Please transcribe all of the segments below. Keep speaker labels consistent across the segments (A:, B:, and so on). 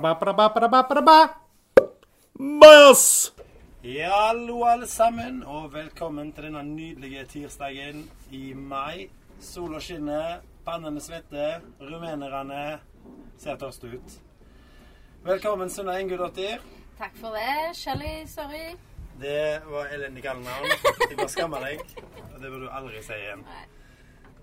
A: Ba-ba-ba-ba-ba-ba-ba-ba.
B: Bajas!
C: Ja, hallo alle sammen, og velkommen til denne nydelige tirsdagen i mai. Sola skinner, pannene svetter, rumenerne ser tørste ut. Velkommen, Sunna Engudottir.
D: Takk for det, Shelly. Sorry.
C: Det var elendig kallenavn. Jeg bare skammer deg. Og det burde du aldri si igjen.
D: Nei.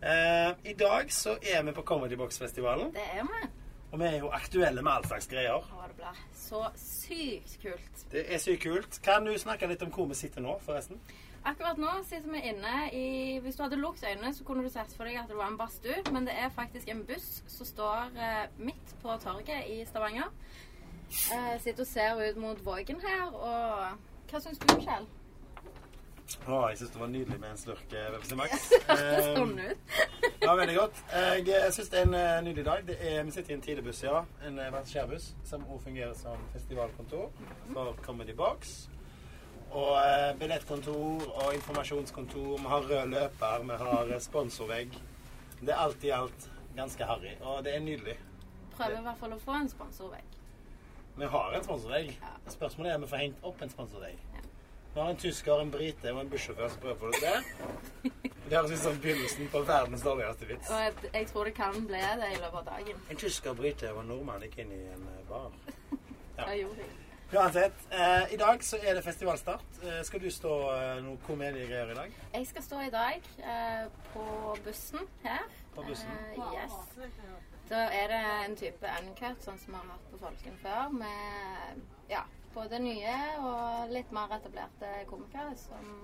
C: Eh, I dag så er vi på Comedy Box-festivalen,
D: Det er vi.
C: og vi er jo aktuelle med all slags greier.
D: Å, det blir så sykt kult.
C: Det er sykt kult. Kan du snakke litt om hvor vi sitter nå, forresten?
D: Akkurat nå sitter vi inne i Hvis du hadde lukket øynene, så kunne du sett for deg at det var en badstue, men det er faktisk en buss som står eh, midt på torget i Stavanger. Eh, sitter og ser ut mot Vågen her, og hva syns du, Kjell?
C: Å, jeg syns det var nydelig med en slurk eh, Pepsi Max.
D: Sånn
C: Eh,
D: ut.
C: Ja, veldig godt. Jeg, jeg syns det er en eh, nydelig dag. Det er, vi sitter i en tidligbuss, ja. En eh, passasjerbuss som også fungerer som festivalkontor for Comedy Box. Og eh, billettkontor og informasjonskontor. Vi har rød løper, vi har eh, sponsorvegg. Det er alt i alt ganske harry, og det er nydelig.
D: Prøver i hvert fall å få en sponsorvegg.
C: Vi har en sponsorvegg.
D: Ja.
C: Spørsmålet er om vi får hengt opp en sponsorvegg. Vi har en tysker, en brite og en bussjåfør som prøver å få det til. Det høres ut som begynnelsen på verdens dårligste vits.
D: Og jeg, jeg tror det kan bli det i løpet av dagen.
C: En tysker bryter og en nordmann gikk inn i en eh, bar. Ja.
D: Det gjorde jeg.
C: Uansett, eh, i dag så er det festivalstart. Eh, skal du stå eh, noe komediegreier i dag?
D: Jeg skal stå i dag eh, på bussen her.
C: På bussen?
D: Eh, yes. Da er det en type uncut, sånn som vi har hatt på Folken før, med ja, både nye og litt mer etablerte komikere som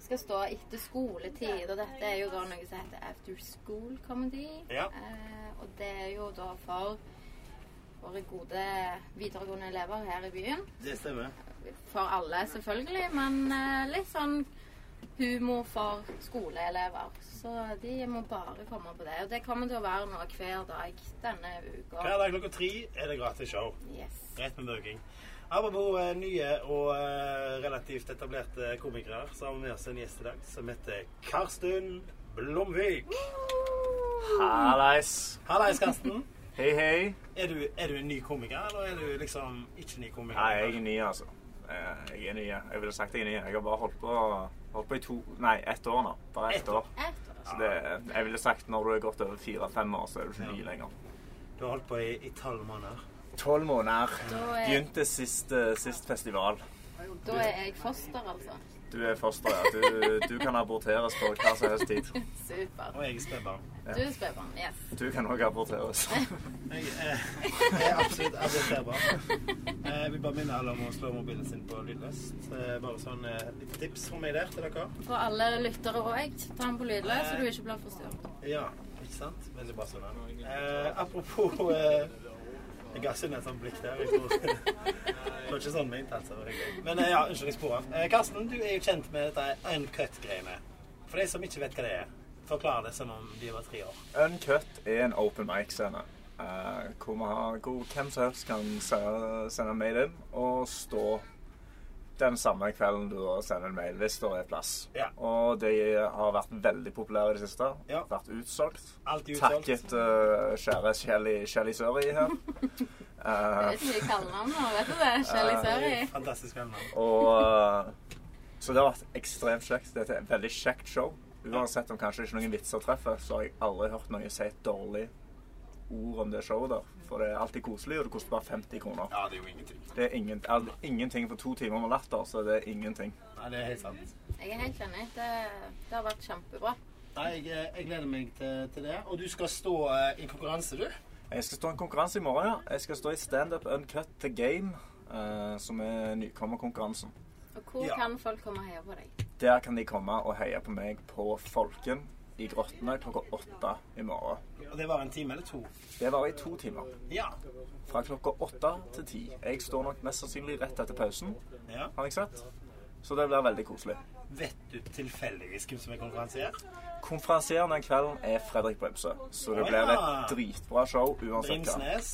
D: skal stå etter skoletid. Og dette er jo da noe som heter after school comedy.
C: Ja.
D: Eh, og det er jo da for våre gode videregående elever her i byen
C: Det stemmer.
D: for alle, selvfølgelig, men eh, litt sånn humor for skoleelever. Så de må bare komme på det. Og det kommer til å være nå hver dag denne uka.
C: Hver dag klokka tre er det gratis show.
D: Yes.
C: Rett med burking. Apropos eh, nye og eh, relativt etablerte komikere, så har vi med oss en gjest i dag som heter Karsten Blomvik.
B: Hallais.
C: Hallais, Karsten.
B: Hei, hei.
C: Er du, er du en ny komiker, eller er du liksom ikke ny komiker?
B: Nei, jeg er ny, altså. Eh, Jeg er ny. ja. Jeg ville sagt jeg er ny. Jeg har bare holdt på, holdt på i to Nei, ett år nå. Bare
C: Ett
B: ett år.
D: Ett år.
B: Så det, jeg ville sagt når du er gått over fire-fem år, så er du ikke ny lenger.
C: Du har holdt på i, i tolv måneder.
B: Tolv måneder.
D: Da er,
B: Begynte sist, eh, sist festival.
D: da er jeg foster, altså.
B: Du er foster, ja. Du, du kan aborteres på hva som helst tid.
D: Super.
C: Og jeg er spedbarn.
D: Du er spedbarn. Yes.
B: Du kan òg aborteres.
C: Jeg eh, jeg er absolutt adopterbar. Eh, Jeg vil bare minne alle om å slå mobilen sin på lydløs. Så det er Bare sånn eh, litt tips fra meg der til dere.
D: For alle lyttere òg. Ta den på lydløs, så du ikke blir forstyrret.
C: Ja, ikke sant? Veldig bra, Sunne. Eh, apropos eh, Jeg ga Sunne et sånt sånn blikk der. Jeg tror. Det var ikke sånn ment, altså. Det var hyggelig. Men eh, ja, unnskyld, jeg sporer. Eh, Karsten, du er jo kjent med dette uncut-greiene. For de som ikke vet hva det er, forklar det som om de var tre år.
B: Uncut er en open mic-scene. eh, hvor, vi har, hvor hvem som helst kan se- sende mail inn og stå den samme kvelden du da sender en mail, hvis det er plass.
C: Ja.
B: Og de har vært veldig populære i det siste.
C: Ja.
B: Vært utsolgt.
C: Alltid utsolgt.
B: Takket eh, kjære Shelly- Shelly Suri her.
D: Det
B: Eh,
D: er ikke mye kallenavn nå, vet du det? Shelly Suri.
C: Fantastisk venner.
B: Og eh, Så det har vært ekstremt kjekt. Det er et veldig kjekt show. Uansett om kanskje ikke noen vitser treffer, så har jeg aldri hørt noen si et dårlig ord om det showet der. For det er alltid koselig, og det koster bare 50 kroner.
C: Ja, det er jo ingenting.
B: Det er ingen, er det ingenting for to timer med latter, så det er ingenting.
C: Nei, det er helt sant.
D: Jeg er helt enig. Det, det har vært kjempebra.
C: Nei, jeg, eh, jeg gleder meg til, til det. Og du skal stå eh, i konkurranse, du?
B: Jeg skal stå i en konkurranse i morgen, ja. Jeg skal stå i Standup Uncut The Game, eh, som er nykommerkonkurransen.
D: Og hvor
C: Ja.
D: kan folk komme og heie på deg?
B: Der kan de komme og heie på meg på Folken i Grottene klokka åtte i morgen.
C: Og det var en time eller to?
B: Det varer i to timer.
C: Ja.
B: Fra klokka åtte til ti. Jeg står nok mest sannsynlig rett etter pausen,
C: ja.
B: har jeg sett. Så det blir veldig koselig.
C: Vet du tilfeldigvis hvem som er konferansier?
B: Konferansieren den kvelden er Fredrik Bremsø, så
C: Å,
B: det blir et
C: ja.
B: dritbra show uansett hva.
C: Brimsnes?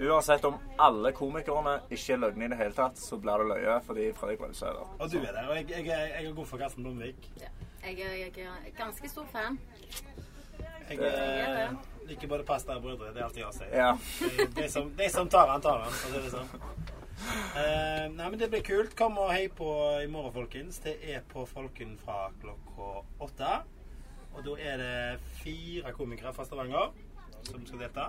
B: Uansett om alle komikerne ikke er løgne i det hele tatt, så blir det løye fordi Fredrik Bremsø er der.
C: Og du er der. Og jeg, jeg, er- jeg er god for Karsten Blomvik.
D: Ja. Jeg, er, jeg er ganske stor fan.
C: Jeg,
B: Det
D: Jeg er
C: eh,
D: det.
C: Liker både pasta og brødre. Det er alt jeg sier.
B: Ja.
C: Det er De, som, de som tar han, tar han. For å si det sånn. Eh, nei, men det blir kult. Kom og hei på i morgen, folkens. Det er på Folken fra klokka åtte. Og da er det fire komikere fra Stavanger som skal delta.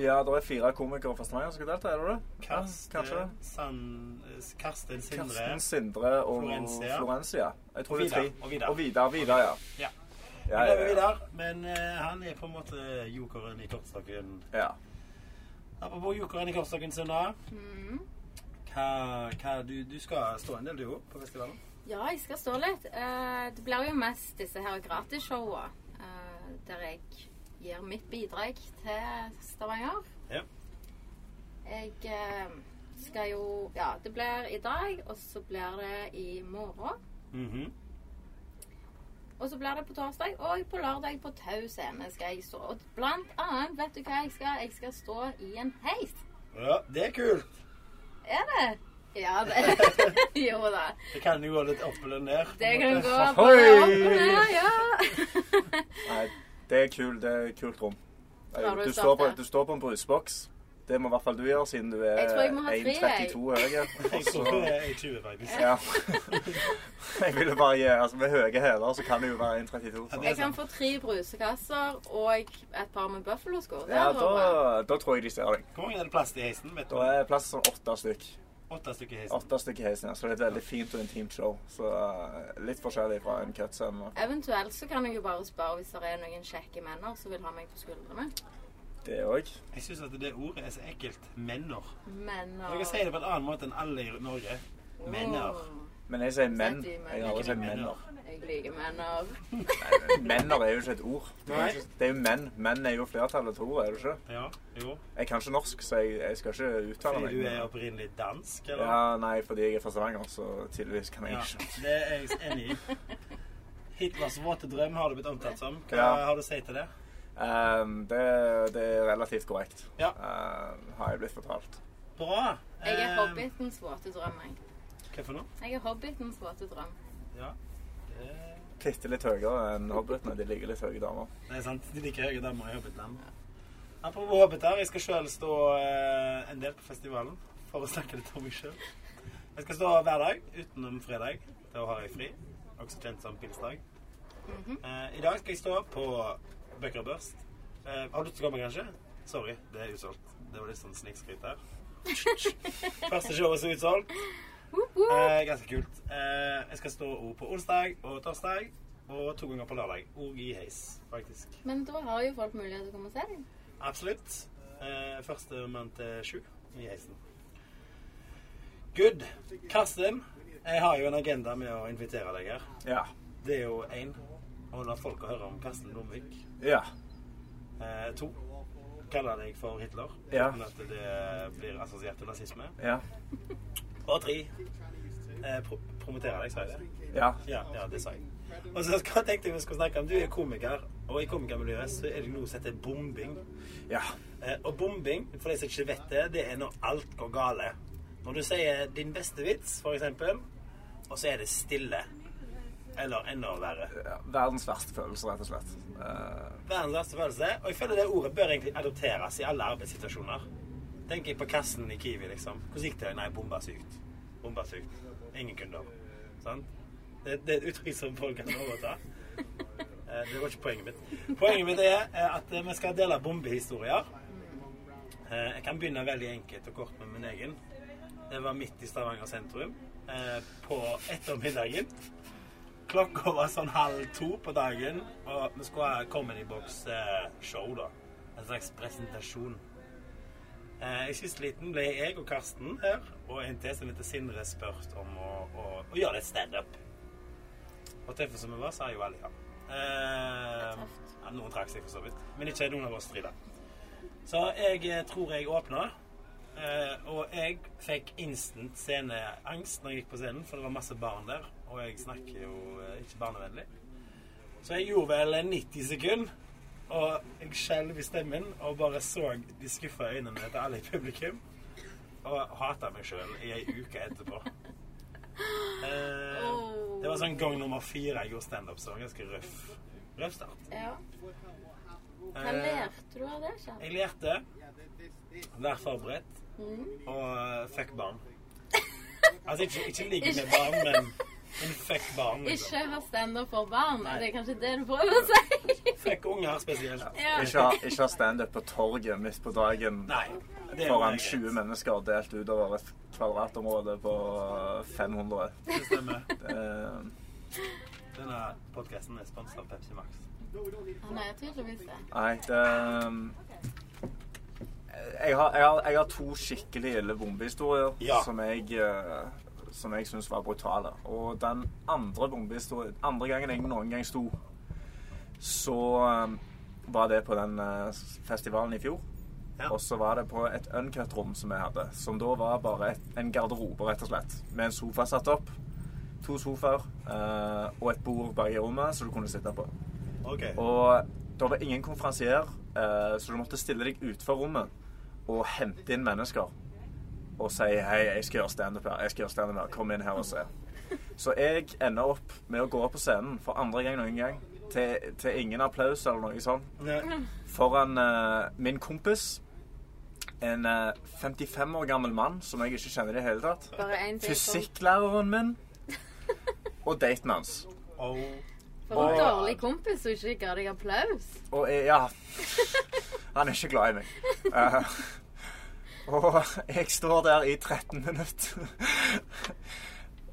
B: ja, det er fire komikere fra Stavanger som skal delta, er det det? Ja, kanskje.
C: Karsten, Sand, eh, Karsten Sindre.
B: Karsten, Sindre og
C: Florencia.
B: Florencia. Jeg tror
C: Og
B: det er
C: Vidar,
B: tre.
C: og Vidar.
B: Og Vidar. Vidar, ja.
C: Ja.
B: Ja,
C: Vi lever
B: ja, ja.
C: videre, men eh, han er på en måte jokeren i kortstokken.
B: ja.
C: Apropos jokeren i kortstokken, Sunna.
D: Mhm.
C: Hva, hva, du, du skal stå en del, du òg, på festivalen?
D: Ja, jeg skal stå litt. Eh, det blir jo mest disse her gratisshowene eh, der jeg gir mitt bidrag til Stavanger.
C: Ja.
D: Jeg eh, skal jo Ja, det blir i dag, og så blir det i morgen.
B: Mhm.
D: Og så blir det på torsdag og på lørdag på Tau scene skal jeg stå. Og blant annet, vet du hva jeg skal? Jeg skal stå i en heis.
C: Ja, det er kult.
D: Er det? Ja, det Jo da.
C: Det kan jo gå litt opp eller ned. på en
D: Det kan
C: måte.
D: gå både opp og ned, ja.
B: Nei, det er kul, det er et kult rom.
D: Klarer du å
B: Du står, på,
D: starte?
B: du står på en brusboks. Det må i hvert fall du gjøre, siden du er
D: Jeg tror jeg må ha fri, jeg.
B: 1,32 høy.
C: Jeg tror det er i 20, faktisk.
B: Ja. Jeg ville bare gi Altså, med høye hæler så kan det jo være 1,32.
C: Ja,
B: så.
C: det er
D: Jeg kan få tre brusekasser og et par med bøffelosko. Det
B: Ja,
D: hadde vært bra.
B: da, da tror jeg de ser deg.
C: Hvor mange er det plass til i heisen? Vet du?
B: Da er plass sånn åtte stykk.
C: Åtte stykker i heisen.
B: Åtte stykk i heisen, ja. Så det er et veldig fint og intimt show. Så eh, litt forskjellig fra en cutscene.
D: Eventuelt så kan jeg jo bare spørre hvis det er noen kjekke menner som vil ha meg på skuldrene.
B: Det òg.
C: Jeg syns at det ordet er så ekkelt. Menner.
D: Menner.
C: Jeg kan si det på en annen måte enn alle i Norge. Menner.
D: Åh,
B: Men jeg sier menn.
D: Sett i menn.
B: Jeg har aldri sagt menner.
D: Mm. Jeg liker menner.
B: Menner er jo ikke et ord.
C: Nei.
B: Det er jo menn. Menn er jo flertallet to, er det ikke?
C: Ja, jo.
B: Jeg kan ikke norsk, så jeg, jeg skal ikke uttale
C: Fordi
B: meg.
C: du
B: men-
C: er opprinnelig dansk, eller?
B: Ja, nei, fordi jeg er fra Stavanger, så tydeligvis kan jeg
C: Ja,
B: ikke.
C: det er jeg enig i. Hitlers våte drøm har du blitt omtalt som. Hva
B: Ja.
C: har du å si til det?
B: Ehm, det, det er relativt korrekt,
C: Ja.
B: Ehm, har jeg blitt fortalt.
C: Bra.
D: Jeg er
C: Eh,
D: hobbitens våte drøm, jeg.
C: Hva for noe?
D: Jeg er hobbitens våte drøm.
C: Ja. Det
B: Bitte litt høyere enn hobbitene. De ligger litt høye damer.
C: det er sant. De liker høye damer i Hobbitland. Apropos hobbiter, jeg skal sjøl stå eh, en del på festivalen for å snakke litt om meg sjøl. Jeg skal stå hver dag utenom fredag. Da har jeg fri. Også kjent som pilsdag. Eh, I dag skal jeg stå på Bøker og Børst. Eh, har du lyst til å komme, kanskje? Sorry, det er utsolgt. Det var litt sånn snikskryt der. Første showet som er utsolgt.
D: Woop, woop.
C: Eh, ganske kult. Eh, jeg skal stå også på onsdag og torsdag, og to ganger på lørdag. Og i heis, faktisk.
D: Men da har jo folk mulighet til å komme og se deg.
C: Absolutt. Eh, første mann til sju i heisen. Good. Karsten, jeg har jo en agenda med å invitere deg her.
B: Ja.
C: Det er jo én å la folk høre om Karsten Blomvik.
B: Ja.
C: Eh, to kalle deg for Hitler,
B: Ja.
C: uten at det blir assosiert til nazisme.
B: Ja.
C: Og tre eh, pro promotere deg, sa jeg det?
B: Ja.
C: Ja, ja, det sa jeg. Og så skal- tenkte jeg vi skulle snakke om Du er komiker, og i komikermiljøet så er det noe som heter bombing.
B: Ja.
C: Eh, og bombing, for de som ikke vet det, det er når alt går gale. Når du sier din beste vits, for eksempel, og så er det stille. Eller enda verre.
B: ja. Verdens verste følelse, rett og slett. Ehm,
C: Verdens verste følelse. Og jeg føler det ordet bør egentlig adopteres i alle arbeidssituasjoner. Tenker jeg på kassen i Kiwi, liksom. Hvordan gikk det? Nei, bomba sykt. Bomba sykt. Ingen kunder. Sant? Det, det er et uttrykk som folk kan overta. Eh, Det var ikke poenget mitt. Poenget mitt er eh, at eh, vi skal dele bombehistorier. Eh, Jeg kan begynne veldig enkelt og kort med min egen. Det var midt i Stavanger sentrum eh, på ettermiddagen. Klokka var sånn halv to på dagen, og vi skulle ha Comedy Box-show, da. En slags presentasjon. Eh, I siste liten ble jeg og Karsten her, og en til som heter Sindre, spurt om å, å, å gjøre litt standup. Og tøffe som vi var, sa jo alle ja. Eh, ja. Noen trakk seg for så vidt, men ikke noen av oss tre, da. Så jeg eh, tror jeg åpna. Eh, og jeg fikk instant sceneangst når jeg gikk på scenen, for det var masse barn der. Og jeg snakker jo eh, ikke barnevennlig. Så jeg gjorde vel eh, 90 sekunder, og jeg skjelv i stemmen og bare så de skuffa øynene til alle i publikum. Og hata meg sjøl i ei uke etterpå. Eh, det var sånn gang nummer fire jeg gjorde standup, så det var ganske røff. Røff start.
D: Ja. Hva
C: Eh,
D: lærte du av det, Kjell?
C: Jeg lærte vær forberedt
D: Mm.
C: og eh, fuck barn. Altså ikke, ikke ligg med barn, men, men fuck barn. liksom.
D: Ikke ha standup for barn.
C: Nei.
D: Det er kanskje det du prøver å si?
C: Fuck unger spesielt.
D: Ja.
B: Ikke ha, ikke ha standup på torget midt på dagen
C: Nei. Det er
B: foran
C: greit.
B: 20 mennesker delt utover et kvadratområde på 500.
C: Det stemmer.
B: Eh,
C: Denne podkasten er sponset av Pepsi Max.
D: Han er tydeligvis det.
B: Nei, det um, jeg, har, jeg, har, jeg har to skikkelig ille bombehistorier
C: Ja.
B: som jeg, eh, som jeg syns var brutale. Og den andre bombehistorien Andre gangen jeg noen gang sto, så um, var det på den eh, festivalen i fjor.
C: Ja.
B: Og så var det på et uncut-rom som jeg hadde, som da var bare et, en garderobe, rett og slett. Med en sofa satt opp, to sofaer eh, og et bord bak i rommet som du kunne sitte på.
C: Ok.
B: Og det var ingen konferansier, eh, så du måtte stille deg utenfor rommet og hente inn mennesker. Og si 'hei, jeg skal gjøre standup her, jeg skal gjøre stand-up her, kom inn her og se'. Så jeg ender opp med å gå opp på scenen for andre gang noen gang, til, til ingen applaus eller noe sånt,
C: Ne-
B: foran eh, min kompis. En eh, 55 år gammel mann som jeg ikke kjenner i det hele tatt.
D: Bare én ting. for-
B: Fysikklæreren min og daten hans.
C: Oh.
D: For en
B: Å.
D: dårlig kompis som ikke ga deg applaus.
B: Og jeg, ja Han er ikke glad i meg. Eh, og jeg står der i 13 minutter.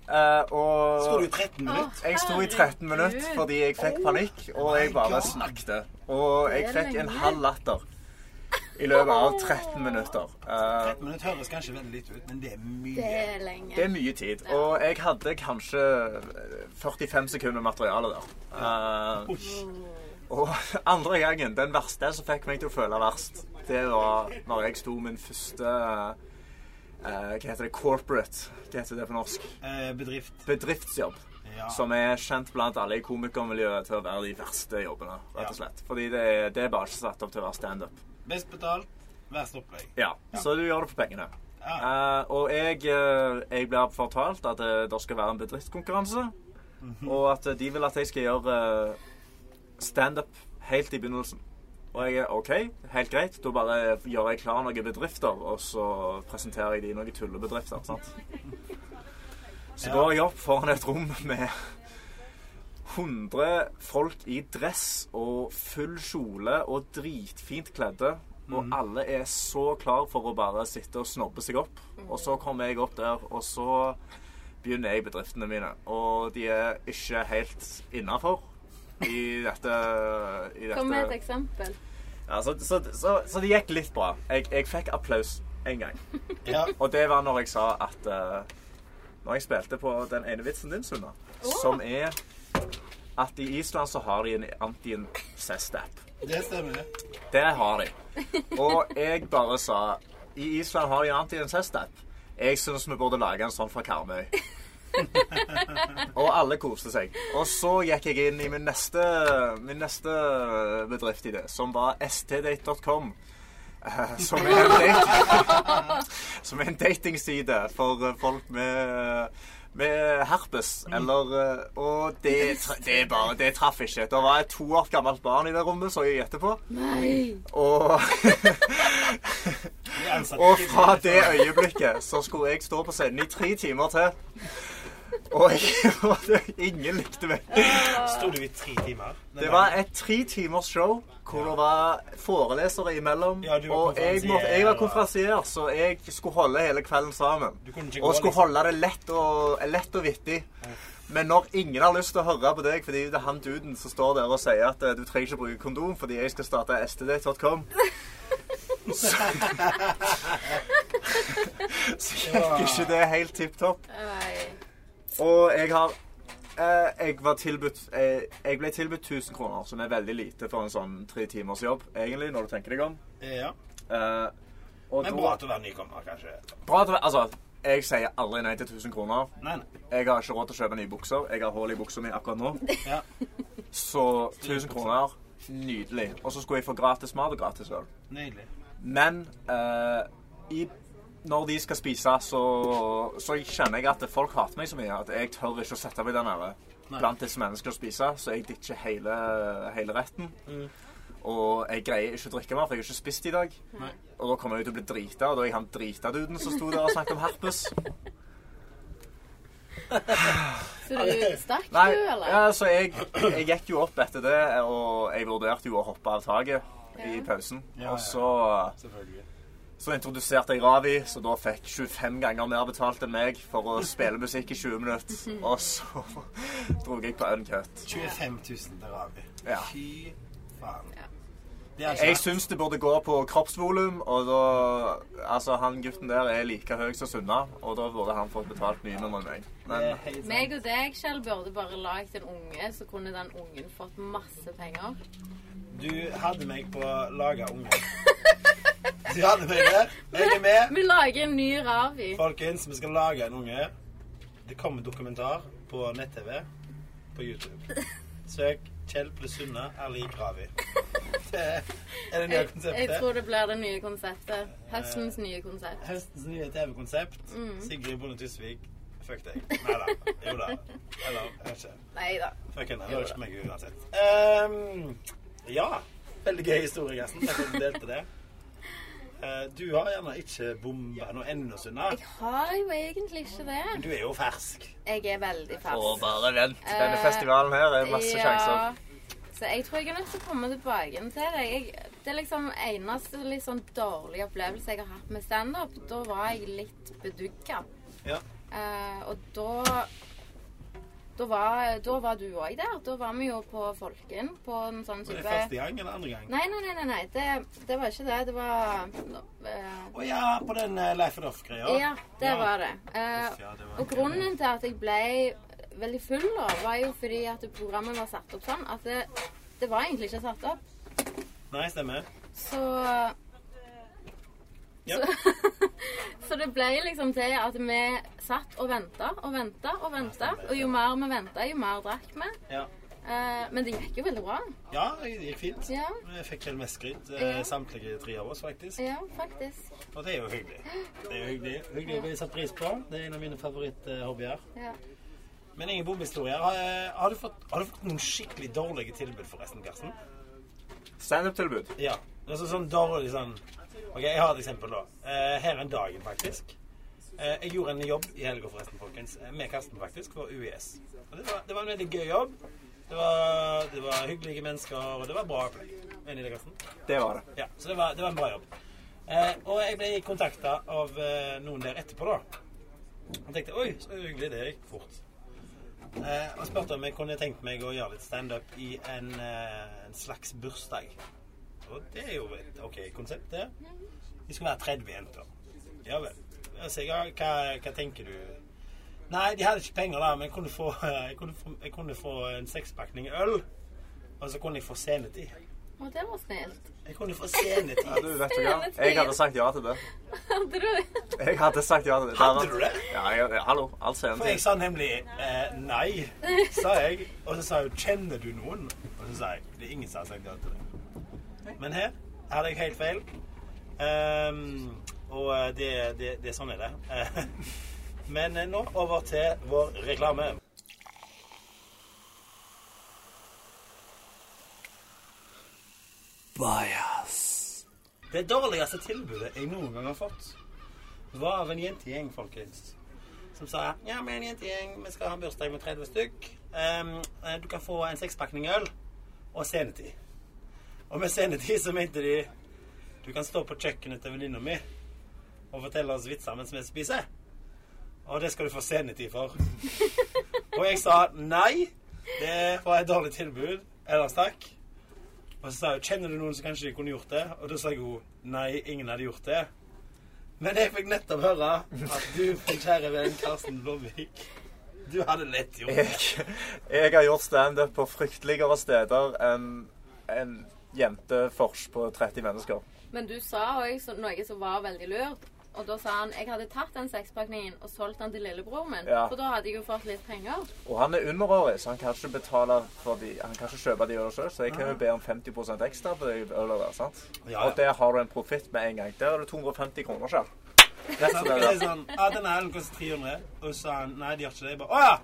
B: Eh, og
C: Sto du i 13 minutter?
B: jeg sto i 13 minutter fordi jeg fikk panikk,
C: Oh
B: og jeg bare snakket. Og jeg fikk en halv latter i løpet av 13 minutter. Eh,
C: 13 minutter høres kanskje veldig lite ut, men det er
D: Det
C: mye.
D: er lenge.
B: det er mye tid. Og jeg hadde kanskje eh, 45 sekunder materiale der. Eh,
C: Usch.
B: Og andre gangen, den verste som fikk meg til å føle verst, det var når jeg sto min første eh, Hva heter det? Corporate. Hva heter det på norsk?
C: Eh, bedrift.
B: Bedriftsjobb.
C: Ja.
B: Som er kjent blant alle i komikermiljøet til å være de verste jobbene. rett
C: Ja.
B: og slett. Fordi det, er- det er bare ikke satt opp til å være standup.
C: Best betalt, verst opplegg.
B: Ja. Så du gjør det for pengene.
C: Ja.
B: Eh, og jeg, eh, jeg blir fortalt at eh, det skal være en bedriftskonkurranse,
C: Mhm.
B: og at eh, de vil at jeg skal gjøre eh, standup helt i begynnelsen. Og jeg er OK, helt greit, da bare gjør jeg klar noen bedrifter, og så presenterer jeg de noen tullebedrifter. sant? Så
C: Ja.
B: går jeg opp foran et rom med 100 folk i dress og full kjole og dritfint kledde. Og alle er så klar for å bare sitte og snobbe seg opp. Og så kommer jeg opp der, og så begynner jeg bedriftene mine. Og de er ikke helt innafor i dette, i dette.
D: Kom med et eksempel.
B: Ja, så, så, så, så det gikk litt bra. Jeg, jeg fikk applaus én gang.
C: ja.
B: Og det var når jeg sa at eh, Når jeg spilte på den ene vitsen din, Sunna, som er at i Island så har de en anti-incest-app.
C: Det stemmer.
B: Det har de. Og jeg bare sa I Island har de en anti-incest-app. Jeg syns vi burde lage en sånn fra Karmøy. og alle koste seg. Og så gikk jeg inn i min neste, min neste bedrift i det, som var stdate.com. eh, Som er en, dating, som er en datingside for eh, folk med, med herpes. Eller eh, Og det, tra- det, er bare, det traff ikke. Det var et to år gammelt barn i det rommet, så jeg gjetter på.
D: Nei!
B: Og,
C: Vi ansatte
B: og
C: ikke
B: fra
C: bedrift.
B: det øyeblikket så skulle jeg stå på scenen i tre timer til. Og, jeg, og det, ingen likte meg.
C: Sto du i tre timer? Den
B: Det
C: dagen?
B: var et tre timers show hvor det var forelesere imellom.
C: Ja, du var
B: og jeg, må,
C: konferansier,
B: jeg var
C: og-
B: konferansier, så jeg skulle holde hele kvelden sammen.
C: Du kunne ikke gå,
B: Og skulle
C: liksom.
B: holde det lett og, lett og vittig. Men når ingen har lyst til å høre på deg fordi det er han duden som står der og sier at eh, du trenger ikke bruke kondom fordi jeg skal starte std.com Så, så gikk ikke det helt tipp topp.
D: Nei.
B: Og jeg har eh, jeg, var tilbudt, eh, jeg ble tilbudt 1000 kroner, som er veldig lite for en sånn tre timers jobb, egentlig, når du tenker deg om.
C: Ja.
B: Eh, og
C: Men
B: da-
C: bra at du var nykommer, kanskje.
B: bra at du Altså, jeg sier aldri nei til 1000 kroner.
C: Nei, nei.
B: Jeg har ikke råd til å kjøpe nye bukser. Jeg har hull i buksa mi akkurat nå.
C: Ja.
B: Så 1000 kroner, nydelig. Og så skulle jeg få gratis mat og gratis øl.
C: Nydelig.
B: Men eh, i, når de skal spise, så, så kjenner jeg at folk hater meg så mye at jeg tør ikke å sette meg der nede
C: Nei. Mm.
B: blant disse menneskene og spise, så jeg ditcher hele, hele retten. Og jeg greier ikke å drikke mer, for jeg har ikke spist i dag.
C: Nei.
B: Og da kommer jeg ut og blir drita, og da er jeg han drita-duden som sto der og snakket om herpes.
D: Så du stakk du,
B: Nei,
D: eller?
B: ja, så jeg, jeg gikk jo opp etter det, og jeg vurderte jo å hoppe av taket i
D: Ja.
B: pausen.
C: Ja,
B: Og
C: ja.
B: så,
C: Selvfølgelig.
B: så introduserte jeg Ravi, så da fikk 25 ganger mer betalt enn meg for å spille musikk i 20 minutter. Og så dro jeg på uncut.
C: 25 000 til Ravi.
B: Ja.
C: Fy faen.
D: Ja.
C: Det er altså-
B: Jeg
C: ikke
B: syns det burde gå på kroppsvolum, og da Altså, han gutten der er like høy som Sunna, og da burde han fått betalt mye mer enn meg. Men
D: Meg og deg selv burde bare lagd en unge, så kunne den ungen fått masse penger.
C: Du hadde meg på laget unge. Du hadde meg der. Jeg er med.
D: Vi lager en ny Ravi.
C: Folkens, vi skal lage en unge. Det kommer dokumentar på nett-TV på YouTube. Søk Kjell pluss Sunne er lik Ravi. Det er det nye
D: Jeg, jeg
C: konseptet.
D: tror det blir det nye konseptet. Høstens nye konsept.
C: Høstens nye TV-konsept.
D: Mm.
C: Sigrid Bonde Tusvik. Fuck deg. Nei da. Jo da. Eller jeg vet ikke.
D: Nei da.
C: Fuck henne. Det var ikke meg uansett. Ehm, ja. Veldig gøy historie, Gersten. Takk for at du delte det. Eh, du har gjerne ikke bomba noe ennå, Sunna.
D: Jeg har jo egentlig ikke
C: Men
D: det.
C: du er jo fersk.
D: Jeg er veldig
B: Og
D: fersk.
B: bare vent. Denne
D: Eh,
B: festivalen her er masse sjanser.
D: Så jeg tror jeg er nødt til å komme tilbake igjen til det. Jeg, det er liksom eneste litt sånn dårlige opplevelse jeg har hatt med standup. Da var jeg litt bedugga.
C: Ja.
D: Eh, og da da var, da var du òg der. Da var vi jo på Folken på en sånn
C: Var det
D: type
C: første gang eller andre gang?
D: Nei, nei, nei. nei, nei. Det, det var ikke det. Det var eh,
C: Å ja, på den eh, Life and Off-greia.
D: Ja, det var det. Eh,
C: Uff, ja, det var
D: og grunnen til at jeg ble veldig full, da, var jo fordi at programmet var satt opp sånn at det, det var egentlig ikke satt opp.
C: Nei, stemmer.
D: Så
C: Ja.
D: så, så det ble liksom til at vi satt og venta og venta og venta. Og jo mer vi venta, jo mer drakk vi.
C: Ja.
D: Eh, men det gikk jo veldig bra.
C: Ja, det gikk fint.
D: Ja.
C: Jeg fikk vel mest skryt.
D: Ja.
C: eh, Samtlige tre av oss, faktisk.
D: Ja, faktisk.
C: Og det er jo hyggelig. Det er jo hyggelig. Hyggelig å bli satt pris på. Det er en av mine favoritthobbyer.
D: Ja.
C: Men ingen bomhistorier. Har, eh, har, du fått- har du fått noen skikkelig dårlige tilbud, forresten, Karsten?
B: Standup-tilbud.
C: Ja. Altså sånn dårlig sånn OK, jeg har et eksempel, da. Eh, her er dagen, faktisk. Eh, jeg gjorde en jobb i helga, forresten, folkens. Eh, Med Karsten, faktisk, for UiS. Og det var, det var en veldig gøy jobb. Det var, det var hyggelige mennesker, og det var bra opplegg. Enig i det, Karsten?
B: Det var det.
C: Ja, så det var, det var en bra jobb. Eh, og jeg ble kontakta av eh, noen der etterpå, da. Og tenkte oi, så hyggelig, det gikk fort. Eh, og spurte om jeg kunne tenkt meg å gjøre litt standup i en, eh, en slags bursdag. Og det er jo et OK konsept, det. Vi skulle være 30 jenter. Ja vel. Altså, ja, hva, hva tenker du? Nei, de hadde ikke penger, da, men jeg kunne få, jeg kunne få, jeg kunne få en sekspakning øl. Og så kunne jeg få scenetid.
D: Og det var snilt.
C: Jeg kunne få scenetid.
B: Ja, du vet du hva. Jeg hadde sagt ja til det.
D: Hadde du
B: Jeg hadde sagt ja til det.
C: Hadde du det?
B: Ja, jeg, ja, hallo. All scenen
C: For jeg
B: til.
C: sa nemlig eh, nei, sa jeg. Og så sa hun 'kjenner du noen?' Og så sa jeg det er ingen som har sagt ja til det. Men her hadde jeg helt feil. Ehm, og eh, det, det, det sånn er det. Eh, Men eh, nå over til vår reklame. Det dårligste tilbudet jeg noen gang har fått, var av en jentegjeng, folkens. Som sa ja, vi er en jentegjeng, vi skal ha en bursdag med 30 stykk. Ehm, eh, du kan få en sekspakning øl og scenetid. Og med scenetid så mente de du kan stå på kjøkkenet til venninna mi og fortelle oss vitser mens vi spiser. Og det skal du få scenetid for. og jeg sa nei. Det var et dårlig tilbud. Ellers takk. Og så sa hun kjenner du noen som kanskje kunne gjort det? Og da sa hun nei, ingen hadde gjort det. Men jeg fikk nettopp høre at du, min kjære venn Karsten Blomvik, du hadde lett gjort det.
B: Jeg, jeg har gjort standup på frykteligere steder enn en jentefors på 30 mennesker.
D: Men du sa òg så- noe som var veldig lurt. Og da sa han jeg hadde tatt den sekspakningen og solgt den til lillebroren min.
B: Ja.
D: For da hadde jeg jo fått litt penger.
B: Og han er underårig, så han kan ikke betale for de, han kan ikke kjøpe de øla sjøl, så jeg kan jo be om 50 ekstra på de øla der. sant?
C: Ja, ja.
B: Og der har du en profitt med en gang. Der er det 250 kroner selv. Rett
C: Så
B: som
C: det
B: det
C: er
B: er.
C: sånn, ja, denne hælen koster 300. Og så sa han nei, de gjør ikke det. Jeg bare, å ja!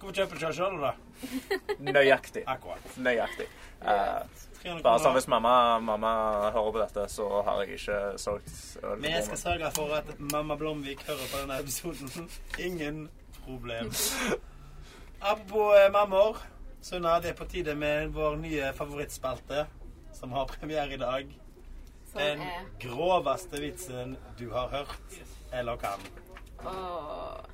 C: Hvorfor kjøper du ikke sjøl, da?
B: Nøyaktig.
C: Akkurat.
B: Nøyaktig. Eh,
C: 300
B: bare sånn
C: kroner.
B: hvis mamma, mamma hører på dette, så har jeg ikke solgt øl.
C: Vi skal sørge for at mamma Blomvik hører på denne episoden. Ingen problem. Apropos eh, mammaer. Sunna, det er på tide med vår nye favorittspalte, som har premiere i dag. Den
D: Som er
C: groveste vitsen du har hørt eller kan.
D: Åh.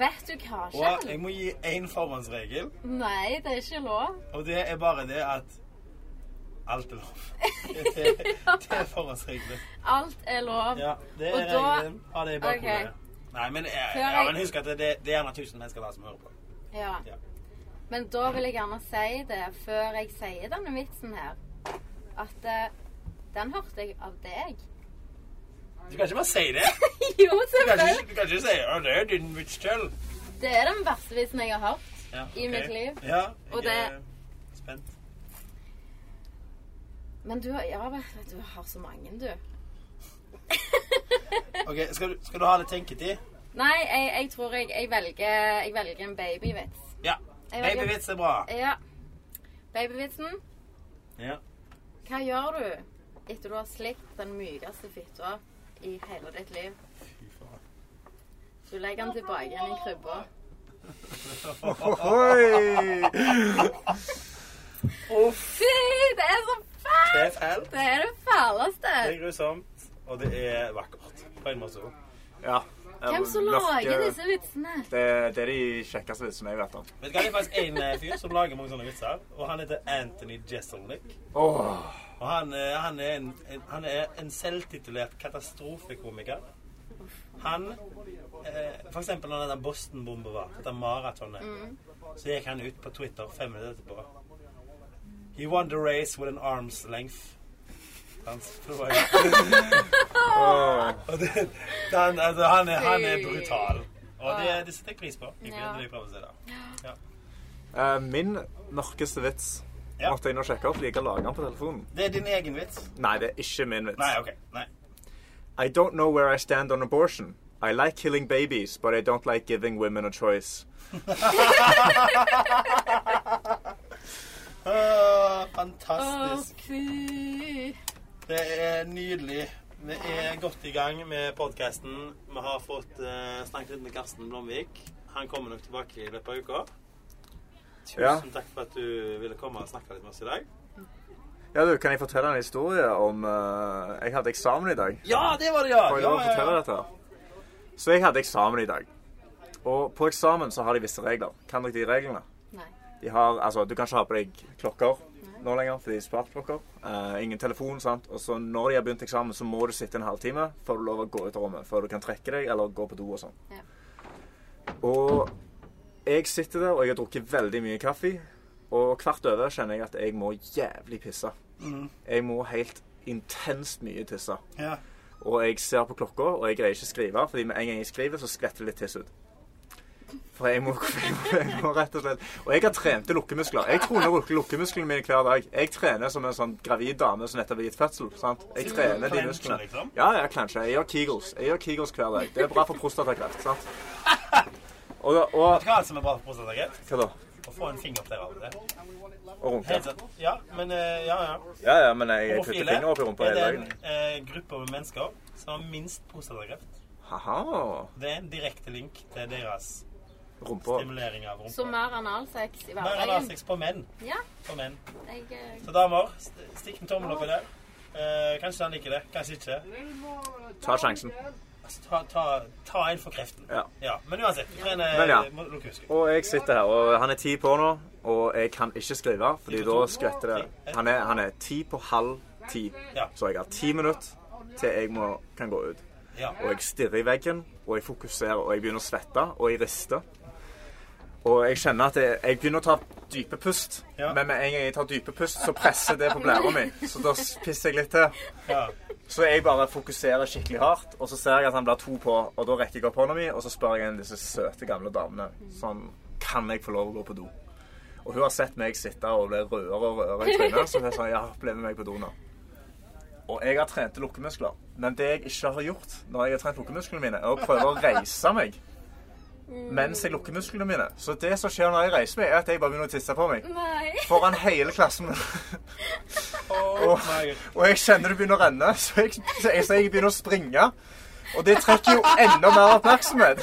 D: Vet du hva,
C: Og
D: Kjell?
C: jeg må gi én forhåndsregel,
D: Nei, det er ikke lov.
C: og det er bare det at alt er lov. Det, det, det er forhåndsregelen.
D: Alt er lov.
C: Ja, det er
D: Og da-
C: regelen. Ha det i bakhodet.
D: Ok.
C: Nei, men, eh,
D: Før
C: ja,
D: jeg-
C: men husk at det, det er gjerne 1000 mennesker der som hører på.
D: Ja.
C: Ja.
D: Men da vil jeg gjerne si det før jeg sier denne vitsen her, at eh, den hørte jeg av deg.
C: Du kan ikke bare si det.
D: jo,
C: Du kan
D: selvfølgelig.
C: ikke, du kan ikke si «Å, det er din bitch tell».
D: Det er den verste vitsen jeg har hørt.
C: Ja,
D: I
C: ok.
D: mitt liv.
C: Ja, jeg
D: Og det-
C: er spent.
D: Men du, har- ja, du har så mange, du.
C: Ok, skal du, skal du ha litt tenketid?
D: Nei, jeg, jeg tror jeg, jeg, velger, jeg velger en babyvits.
C: Ja.
D: Jeg vet ikke.
C: Babyvits er bra.
D: Ja. Babyvitsen.
C: Ja.
D: Hva gjør du etter du har slikt den mykeste fitta i hele ditt liv? Du legger den tilbake igjen i krybba.
B: Ohoi!
C: Uff,
D: Fy, det er så
C: det
D: fælt!
C: er fælt.
D: Det er det fæleste.
C: Det er grusomt, og det er vakkert. På en måte også.
B: Ja.
D: Hvem som lager disse vitsene?
B: Det, det er de kjekkeste vitsene jeg vet om.
C: Vet du hva, det er faktisk en eh, fyr som lager mange sånne vitser, og han heter Anthony Jeselnik.
B: Åh.
C: Og han, eh, han, er en, en, han er en selvtitulert katastrofekomiker. Han eh, For eksempel da den Boston-bomba var, dette maratonet, så gikk han ut på Twitter fem minutter etterpå. He won the race with an arm's length. Han, det var jo-
B: Åh.
C: og det, han, altså, han, er, han er
D: Fy.
C: brutal. Og det, det setter jeg pris på. Ikke
D: Ja.
C: det jeg prøver å si da. Ja.
B: Eh, Min mørkeste vits
C: Ja.
B: måtte jeg nå sjekke opp. Jeg kan lage den på telefonen.
C: Det er din egen vits.
B: Nei, det er ikke min vits.
C: Nei, OK. Nei.
B: I don't know where I stand on abortion. I like killing babies, but I don't like giving women a choice.
C: Åh,
D: Å,
C: fantastisk.
D: fy.
C: Det er nydelig. Vi er godt i gang med podkasten. Vi har fått eh, snakket litt med Karsten Blomvik. Han kommer nok tilbake i løpet av uka. Tusen
B: Ja.
C: takk for at du ville komme og snakke litt med oss i dag.
B: Ja, du, kan jeg fortelle en historie om eh, Jeg hadde eksamen i dag.
C: Ja, det var det, ja!
B: Får jeg
C: ja,
B: lov å fortelle dette? her? Så jeg hadde eksamen i dag. Og på eksamen så har de visse regler. Kan dere de reglene?
D: Nei.
B: De har, altså, du kan ikke ha på deg klokker nå lenger, fordi de er spartklokker. Eh, ingen telefon, sant. Og så når de har begynt eksamen, så må du sitte en halvtime før du lover å gå ut av rommet. Før du kan trekke deg eller gå på do og sånn.
D: Ja.
B: Og jeg sitter der, og jeg har drukket veldig mye kaffe. Og hvert over kjenner jeg at jeg må jævlig pisse. Jeg må helt intenst mye tisse.
C: Ja.
B: Og jeg ser på klokka, og jeg greier ikke å skrive, fordi med en gang jeg skriver, så skvetter det litt tiss ut. For jeg må, jeg må, jeg må rett og slett Og jeg har trente lukkemuskler. Jeg troner lukke- lukkemusklene mine hver dag. Jeg trener som en sånn gravid dame som nettopp har gitt fødsel. sant? Jeg trener de musklene.
C: Liksom.
B: Ja, ja, kanskje. Jeg gjør Kegels. Jeg gjør Kegels hver dag. Det er bra for prostatakreft, sant? Og, da- og
C: Hva er det som er bra for prostatakreft?
B: Hva da?
C: Å få en finger der av det.
B: Og runke?
C: Helt sant. Ja, men eh, ja, ja.
B: Ja, ja, men jeg, jeg putter fingeren opp i rumpa
C: er
B: hele
C: det en
B: dagen.
C: eh, gruppe med mennesker som har minst prostatakreft.
B: Haha.
C: Det er en direkte link til deres
B: Rumpa.
C: stimulering av rumpa.
D: Så mer analsex i
C: Mer enn
D: hverdagen?
C: A6 på menn.
D: Ja.
C: På menn.
D: Jeg, eh,
C: Så damer, st- stikk en tommel opp i det. Eh, kanskje han liker det, kanskje ikke.
B: Ta sjansen.
C: Altså, ta, ta, ta en for kreften.
B: Ja.
C: men uansett, trene
B: Men ja.
C: må- lukk husken.
B: Og jeg sitter her, og han er ti på nå, og jeg kan ikke skrive, fordi da skvetter det. Han er, han er ti på halv ti,
C: Ja.
B: så jeg har ti minutter til jeg må, kan gå ut.
C: Ja.
B: Og jeg stirrer i veggen, og jeg fokuserer, og jeg begynner å svette, og jeg rister. Og jeg kjenner at jeg, jeg begynner å ta dype pust,
C: Ja.
B: men med en gang jeg tar dype pust, så presser det på blæra mi, så da s- pisser jeg litt til.
C: ja.
B: Så jeg bare fokuserer skikkelig hardt, og så ser jeg at han blir to på, og da rekker jeg opp hånda mi, og så spør jeg en av disse søte gamle damene sånn Kan jeg få lov å gå på do? Og hun har sett meg sitte og bli rødere og rødere i trynet, så hun sa ja, bli med meg på do nå. Og jeg har trente lukkemuskler, men det jeg ikke har gjort når jeg har trent lukkemusklene mine, er å prøve å reise meg mens jeg lukker musklene mine. Så det som skjer når jeg reiser meg, er at jeg bare begynner å tisse på meg.
D: Nei.
B: Foran hele klassen min.
C: Oh, my God.
B: Og jeg kjenner det begynner å renne, så jeg, så jeg, så jeg begynner å springe. Og det trekker jo enda mer oppmerksomhet.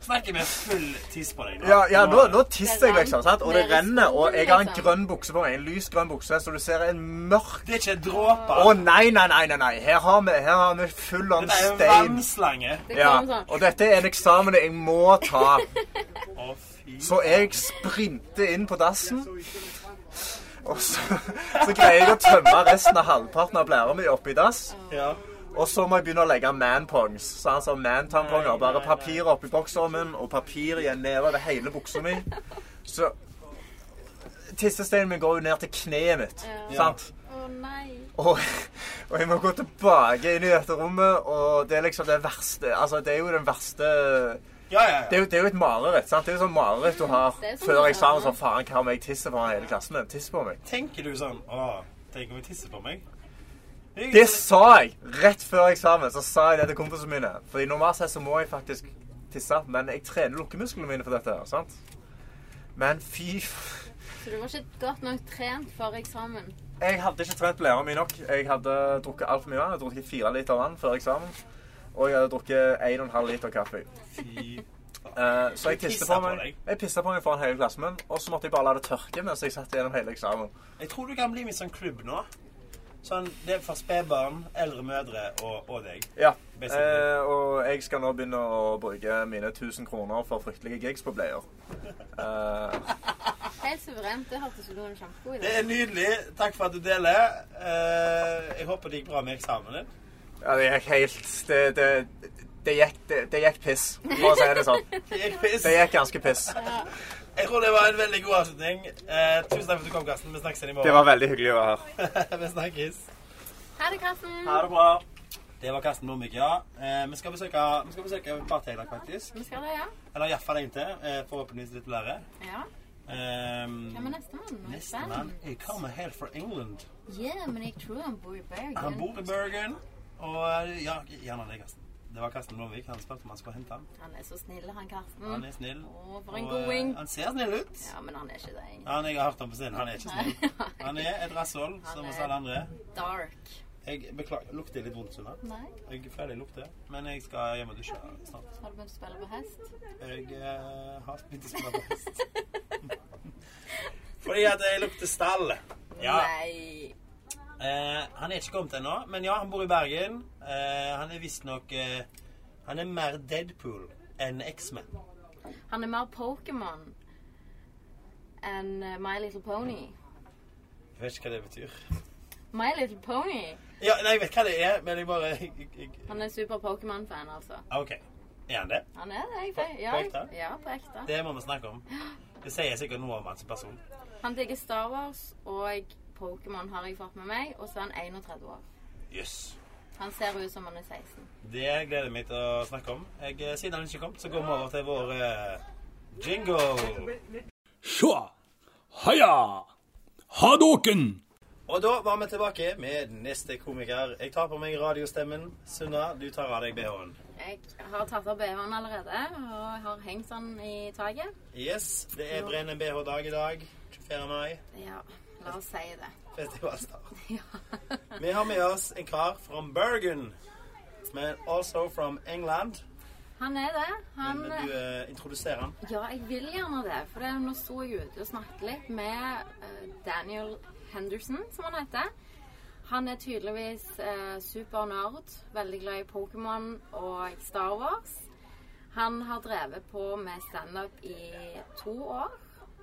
C: Snakker med full tiss på deg nå.
B: Ja, ja nå, nå tisser jeg,
D: Det
B: liksom. sant? Og det
D: renner.
B: renner. Og jeg har en
D: Liksom.
B: grønn bukse på meg. En lys grønn bukse, så du ser en mørk
C: Det er ikke
B: Å
C: dråper.
B: nei, nei, nei, nei, nei. Her har vi, her har vi full on
C: det er liksom. en
B: stein.
C: vannslange.
D: Det
B: Ja,
D: kom sånn.
B: og dette er en eksamen jeg må ta.
C: Å, fy.
B: Så jeg sprinter inn på dassen. Og så, så greier jeg å tømme resten av halvparten av blæra mi oppi dass.
C: Ja.
B: Og så må jeg begynne å legge manpongs. Så altså mantamponger. Bare papir oppi boksormen og papir igjen nedover hele buksa mi. Så Tissesteinen min går jo ned til kneet mitt.
D: Ja.
B: Sant?
D: Å nei.
B: Og, og jeg må gå tilbake inn i dette rommet, og det er liksom det verste Altså, det er jo den verste
C: Ja, ja,
B: Det
C: ja.
B: er jo, det er jo et mareritt, sant? Det er jo sånn mareritt du har
D: Det er sånn
B: før
D: det er.
B: eksamen. Sånn, faen, hva om jeg tisser foran hele klassen min? Tiss på meg.
C: Tenker du sånn Å, tenk om jeg tisser på meg? Jeg-
B: Det sa jeg rett før eksamen. Så sa jeg det til kompisene mine. Fordi normalt sett så må jeg faktisk tisse, men jeg trener lukkemusklene mine for dette her, sant? Men fy f...
D: Så du var ikke godt nok trent for eksamen.
B: Jeg hadde ikke trent blæra mi nok. Jeg hadde drukket altfor mye vann. Jeg hadde drukket fire liter vann før eksamen. Og jeg hadde drukket en og en halv liter kaffe.
C: Fy.
B: Eh, så jeg
C: Du
B: tisset
C: pisset
B: på
C: på
B: meg
C: deg?
B: Jeg pisset på meg foran hele klassen min, og så måtte jeg bare la det tørke mens jeg satt gjennom hele eksamen.
C: Jeg tror du kan bli min sånn klubb nå. Sånn, Det er for spedbarn, eldre mødre og, og deg.
B: Ja,
C: Basically.
B: eh, Og jeg skal nå begynne å bruke mine 1000 kroner for fryktelige gigs på bleier. Eh,
D: Helt suverent. Det hørtes ut som en
C: Det
D: kjempegod idé.
C: er nydelig. Takk for at du deler. Eh, jeg håper det gikk bra med eksamen din.
B: ja, det gikk helt Det, det, det, gikk, det, det gikk piss, for å si det sånn.
C: Det gikk piss.
B: Det gikk ganske piss.
C: Jeg tror det var en veldig god avslutning. Eh, tusen takk for at du kom, Karsten. Vi snakkes igjen i morgen.
B: Det var veldig hyggelig å være her.
C: Vi snakkes.
D: Ha det, Karsten.
C: Ha det bra. Det var Karsten Blomvik, ja. Eh, vi skal besøke, vi skal besøke et par til i dag, faktisk.
D: Vi skal det, ja.
C: Eller iallfall en til. Eh, forhåpentligvis litt flere.
D: ja.
C: Um,
D: Hvem er nestemann? Nå er jeg spent.
C: Nestemann er Carmen Hale fra England.
D: Ja, men jeg tror han bor i Bergen.
C: Han bor i Bergen. Og eh, ja, gjerne det, Karsten. Det var Karsten Blomvik. Han spurte om han skulle hente ham.
D: Han er så snill, han Karsten.
C: Han er snill.
D: Å, for en
C: Og,
D: god wing.
C: eh, Han ser snill ut.
D: Ja, men han er ikke det. egentlig.
C: Han jeg har hørt ham på scenen, han er ikke snill. Han er et rasshold, som oss alle andre.
D: Dark.
C: Jeg beklager. Lukter litt vondt, Sunna.
D: Nei,
C: Jeg er ferdig lukter, men jeg skal hjem og dusje snart.
D: har du begynt å spille på hest?
C: Jeg eh, har begynt å spille på hest. Fordi at jeg lukter stall. Ja.
D: Nei.
C: Eh, han er ikke kommet ennå, men ja, han bor i Bergen. Eh, han er visstnok eh, Han er mer Deadpool enn X-Men.
D: Han er mer Pokémon enn eh, My Little Pony.
C: Jeg vet ikke hva det betyr.
D: My Little Pony!
C: Ja, nei, jeg vet hva det er, men jeg bare jeg, jeg, jeg. Ah,
D: Han er super Pokémon-fan, altså.
C: OK. Er han det?
D: Han er det. Jeg,
C: På-
D: ja,
C: på ekte?
D: Ja, på ekte.
C: Det må vi snakke om. Det sier sikkert noe om han som person.
D: Han digger Star Wars, og Pokémon har jeg fått med meg. Og så er han 31 år.
C: Jøss.
D: Han ser ut som han er 16.
C: Det gleder jeg meg til å snakke om. Jeg, eh, siden han ikke kom, så går vi over til vår eh, jingle.
A: Sjå! Haja! Hadoken!
C: Og da var vi tilbake med neste komiker. Jeg tar på meg radiostemmen. Sunna, du tar av deg BH-en.
D: Jeg har tatt av BH-en allerede, og jeg har hengt den i taket.
C: Yes, det er brennende BH-dag i dag. 24. mai.
D: Ja, la oss si det.
C: Festivalstart.
D: Ja.
C: Vi har med oss en kar fra Bergen, men also from England.
D: Han er det. Han,
C: Men du eh, introduserer han.
D: ja, jeg vil gjerne det. For det, nå sto jeg ute og snakket litt med eh, Daniel Henderson, som han heter. Han er tydeligvis eh, supernerd, veldig glad i Pokémon og Star Wars. Han har drevet på med standup i to år.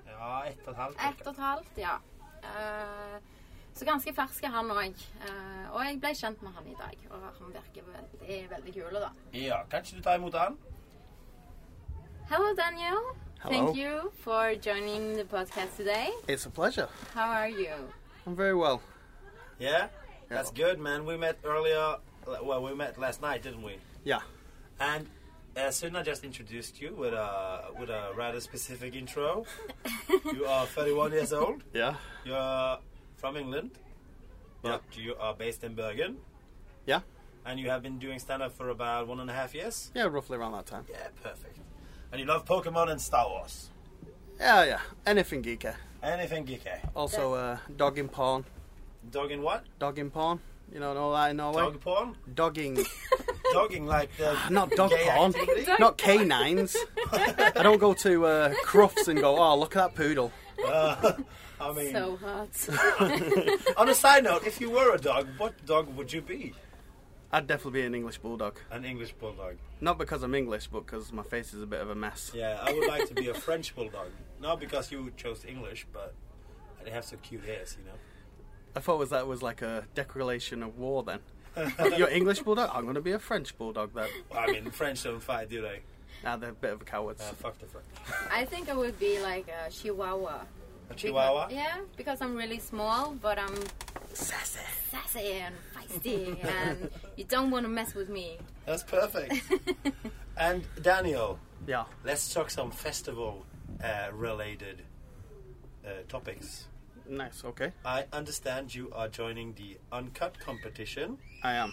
C: Ja, ett og et halvt.
D: Ett og et halvt, ja. Eh, så ganske fersk er han òg. og jeg ble kjent med han i dag. Og han virker veldig, veldig kul, da.
C: Ja, kan ikke du ta imot han?
D: Hello, Daniel.
E: Hello.
D: Thank you for joining the podcast today.
E: It's a pleasure.
D: How are you?
E: I'm very well.
C: Yeah? That's good, man. We met earlier. Well, we met last night, didn't we?
E: Yeah.
C: And uh, Sunna just introduced you with a with a rather specific intro. you are 31 years old.
E: Yeah.
C: You're from England, but you are based in Bergen,
E: Yeah.
C: and you have been doing stand up for about one and a half years.
E: Yeah, roughly around that time.
C: Yeah, perfect. And you love Pokemon and Star Wars.
E: Yeah, yeah. Anything geeky.
C: Anything geeky.
E: Also, uh, dogging porn.
C: Dogging what?
E: Dogging porn. You know, and all that in Norway.
C: Dog porn?
E: Dogging.
C: Dogging like the.
E: Not dog
C: gay
E: porn.
C: activity?
E: Not canines. I don't go to uh, Crufts and go, oh, look at that poodle.
C: I mean,
D: So hot.
C: on a side note, if you were a dog, what dog would you be?
E: I'd definitely be an English bulldog.
C: An English bulldog.
E: Not because I'm English, but because my face is a bit of a mess.
C: Yeah, I would like to be a French bulldog. Not because you chose English, but they have some cute hairs, you know.
E: I thought was that was like a declaration of war then. You're English bulldog? I'm going to be a French bulldog then.
C: Well, I mean, French don't fight, do they?
E: Nah, they're a bit of cowards.
C: Uh, fuck the French.
D: I think I would be like a chihuahua.
C: A Chihuahua?
D: Yeah, because I'm really small, but I'm
E: Sassy.
D: sassy and feisty, and you don't want to mess with me.
C: That's perfect. and Daniel,
E: Yeah.
C: let's talk some festival-related uh, topics.
E: Nice, okay.
C: I understand you are joining the Uncut competition,
E: I am.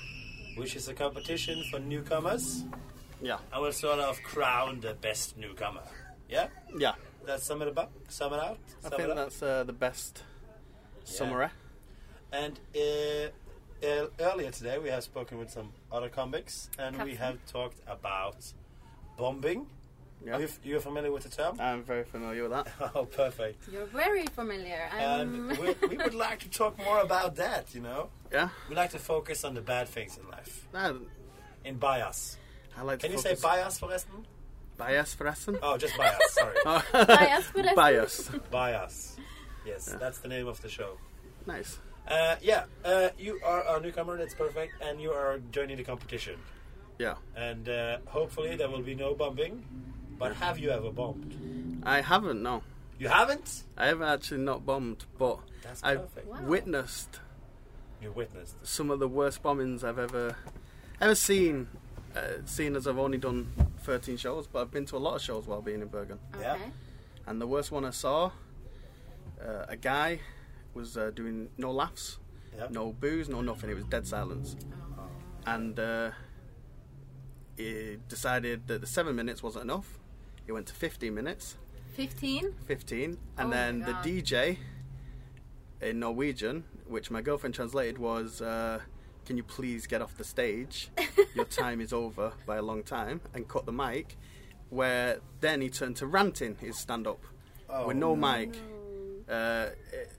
C: which is a competition for newcomers.
E: Yeah.
C: I will sort of crown the best newcomer. Yeah,
E: Yeah.
C: let's sum it up. Sum it out.
E: I
C: Sum it
E: think
C: up.
E: that's uh, the best summary.
C: And uh, uh, earlier today, we have spoken with some other comics, and we
D: Captain.
C: have talked about bombing.
E: Yeah. Uh.
C: Are you, you're familiar with the term?
E: I'm very familiar with that.
C: oh, perfect.
D: You're very familiar. I'm
C: And we, we would like to talk more about that. You know,
E: Yeah.
C: we like to focus on the bad things in life.
E: I,
C: In bias.
E: I like
C: Can
E: to
C: you say
E: focus-
C: bias, Forresten?
E: bias for Essen?
C: Oh, just bias. Sorry,
D: biased for this.
E: bias.
C: bias. Yes, that's the name of the show.
E: nice.
C: Uh, yeah, uh, you are a newcomer. That's perfect, and you are joining the competition.
E: Yeah.
C: and uh, hopefully there will be no bombing. But have you ever bombed?
E: I haven't, no.
C: You haven't.
E: I haven't actually not bombed, but
C: That's
E: I've
C: perfect.
D: Wow.
E: witnessed
C: You witnessed.
E: some of the worst bombings I've ever ever seen. Uh, seeing as I've only done 13 shows, but I've been to a lot of shows while being in Bergen.
C: Yeah.
D: Okay.
E: And the worst one I saw, uh, a guy was uh, doing no laughs,
C: Yeah.
E: no boos, no nothing. It was dead silence. And uh, he decided that the seven minutes wasn't enough. He went to 15 minutes,
D: 15?
E: 15,
D: Oh
E: and
D: my
E: then the
D: God.
E: DJ in Norwegian, which my girlfriend translated was, uh, "Can you please get off the stage? Your time is over by a long time," and cut the mic. Where then he turned to ranting his stand-up with no, mic. Uh, it-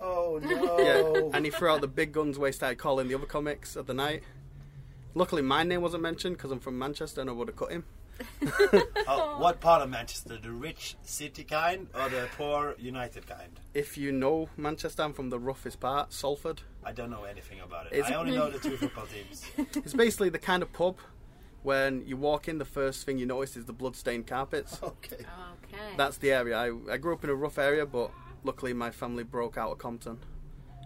C: Oh no!
E: yeah, and he threw out the big guns where he started calling the other comics of the night. Luckily, my name wasn't mentioned because I'm from Manchester and I would have cut him.
C: Oh, what part of Manchester? The rich city kind or the poor United kind?
E: If you know Manchester, I'm from the roughest part, Salford.
C: I don't know anything about it.
E: It's-
C: I only know the two football teams.
E: It's basically the kind of pub when you walk in, the first thing you notice is the blood-stained carpets.
C: okay.
D: Okay.
E: That's the area. I, I grew up in a rough area, but luckily my family broke out of Compton,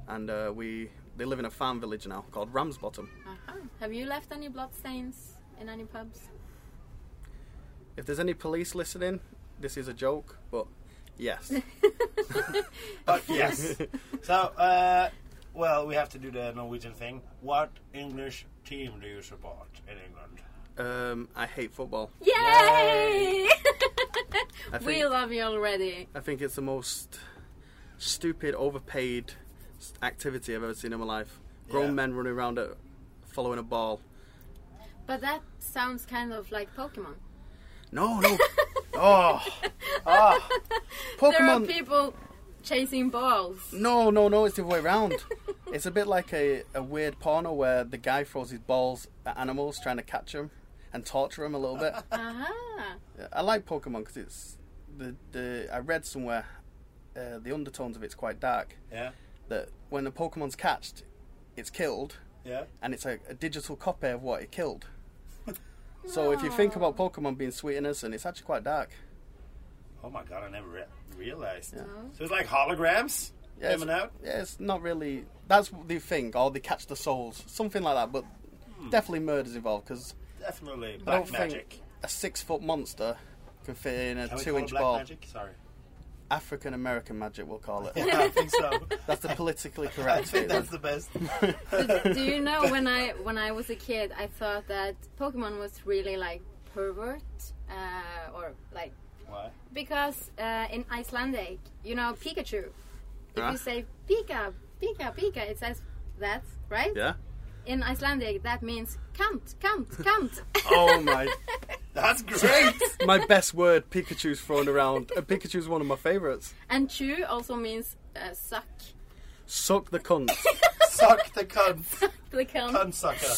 E: and uh, we they live in a farm village now called Ramsbottom.
D: Uh-huh. Have you left any bloodstains in any pubs?
E: If there's any police listening, this is a joke, but yes,
C: But yes. so, uh, well, we have to do the Norwegian thing. What English team do you support in England?
E: um, I hate football.
D: Yay!
E: I think,
D: we love you already.
E: I think it's the most stupid, overpaid s- activity I've ever seen in my life. Grown
C: Yeah.
E: men running around uh, following a ball.
D: But that sounds kind of like Pokemon.
E: No, no. Ah.
C: Oh,
D: There are
E: Pokemon.
D: people chasing balls.
E: No, no, no, it's the other way around. it's a bit like a, a weird porno where the guy throws his balls at animals trying to catch them and torture them a little bit.
D: Aha.
E: I like Pokemon because it's. The, the I read somewhere uh, the undertones of it's quite dark.
C: yeah,
E: That when a Pokemon's catched, it's killed,
C: yeah.
E: and it's a, a digital copy of what it killed. So if you think about Pokemon being sweet and innocent, it's actually quite dark.
C: Oh my god, I never re- realized.
D: No.
C: So it's like holograms?
E: Yeah,
C: Coming
E: it's-
C: out?
E: Yeah, it's not really. That's the thing, or they catch the souls, something like that. But definitely murders involved because
C: Definitely
E: I don't
C: black magic.
E: think a six-foot monster can fit in a
C: Can we call it
E: two-inch
C: black
E: ball.
C: magic? Sorry.
E: African American magic, we'll call it.
C: I think so.
E: that's the politically
C: I
E: correct.
C: think that's the best.
D: Do you know when I when I was a kid, I thought that Pokemon was really like pervert uh, or like
C: Why?
D: because uh, in Icelandic, you know, Pikachu. If
E: Ah.
D: you say Pika, Pika, Pika, it says that, right?
E: Yeah.
D: In Icelandic, that means cunt, cunt, cunt.
E: Oh my!
C: That's great!
E: my best word, Pikachu's thrown around. Uh, Pikachu's one of my favorites.
D: and chew also means uh, suck.
E: Suck the cunt.
C: Suck the cunt.
D: The cunt.
C: Cunt sucker.